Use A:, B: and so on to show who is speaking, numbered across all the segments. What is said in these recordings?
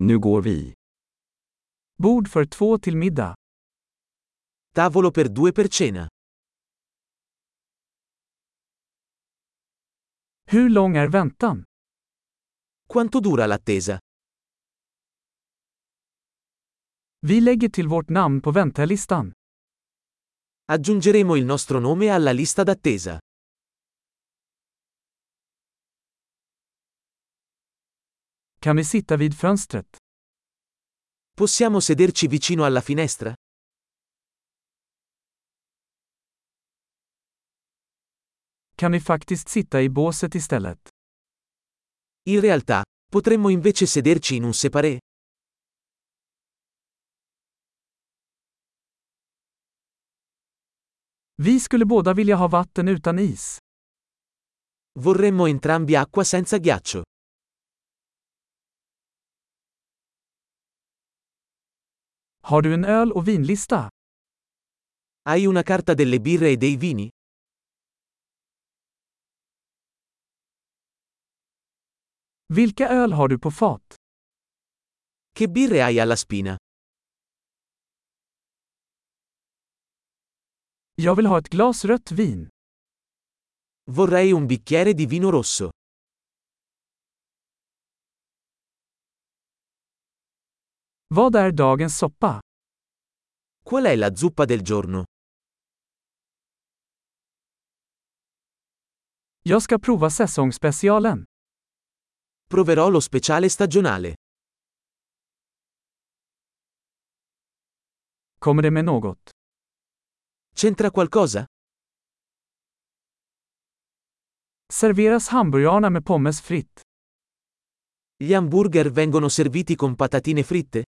A: Nu går vi.
B: Bord för två till middag.
C: Tavolo per due per cena.
B: Hur lång är väntan?
C: Quanto dura l'attesa?
B: Vi lägger till vårt namn på väntelistan.
C: Aggiungeremo il nostro nome alla lista d'attesa.
B: Kan vi sitta vid fönstret?
C: Possiamo sederci vicino alla finestra?
B: Kan vi faktiskt sitta i båset istället?
C: In realtà, potremmo invece sederci in un separé.
B: Vi skulle båda vilja ha vatten utan is.
C: Vorremmo entrambi acqua senza ghiaccio.
B: Har du en öl och vinlista?
C: Hai una carta delle birre e dei vini?
B: Vilka öl har du på fat?
C: Che birre hai alla spina?
B: Jag vill ha ett glas rött vin.
C: Vorrei un bicchiere di vino rosso.
B: Vad är dagens soppa?
C: Qual è la zuppa del giorno?
B: Jag ska prova säsongsspecialen.
C: Proverò lo speciale stagionale.
B: Kommer det med något?
C: C'entra qualcosa?
B: Serveras hamburgarna med pommes fritt?
C: Gli hamburger vengono serviti con patatine fritte?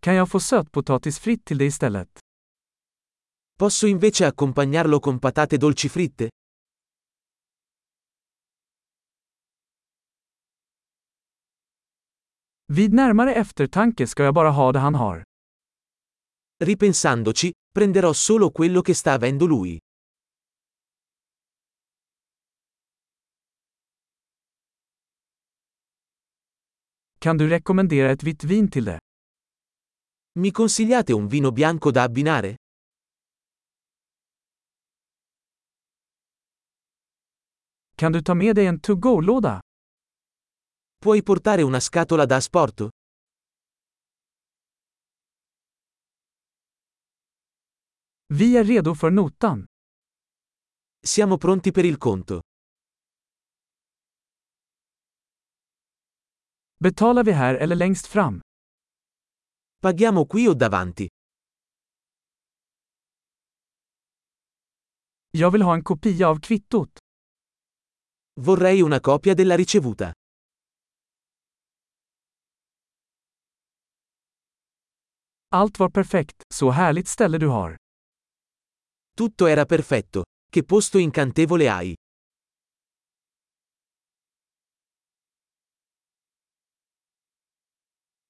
B: Kan jag få sötpotatis fritt till det istället?
C: Posso invece accompagnarlo con patate dolci fritte?
B: Vid närmare eftertanke ska jag bara ha det han har.
C: Ripensandoci, prenderò solo quello che sta avendo lui.
B: Kan du rekommendera ett vitt vin till det?
C: Mi consigliate un vino bianco da abbinare?
B: Kan du ta med dig en to-go-låda?
C: Puoi portare una scatola da asporto?
B: Vi är redo för notan.
C: Siamo pronti per il conto.
B: Betalar vi här eller längst fram?
C: Paghiamo qui o davanti?
B: Jag vill ha en kopia av kvittot.
C: Vorrei una copia della ricevuta.
B: Allt var perfekt, så härligt ställe du har.
C: Tutto era perfetto. Che posto incantevole hai.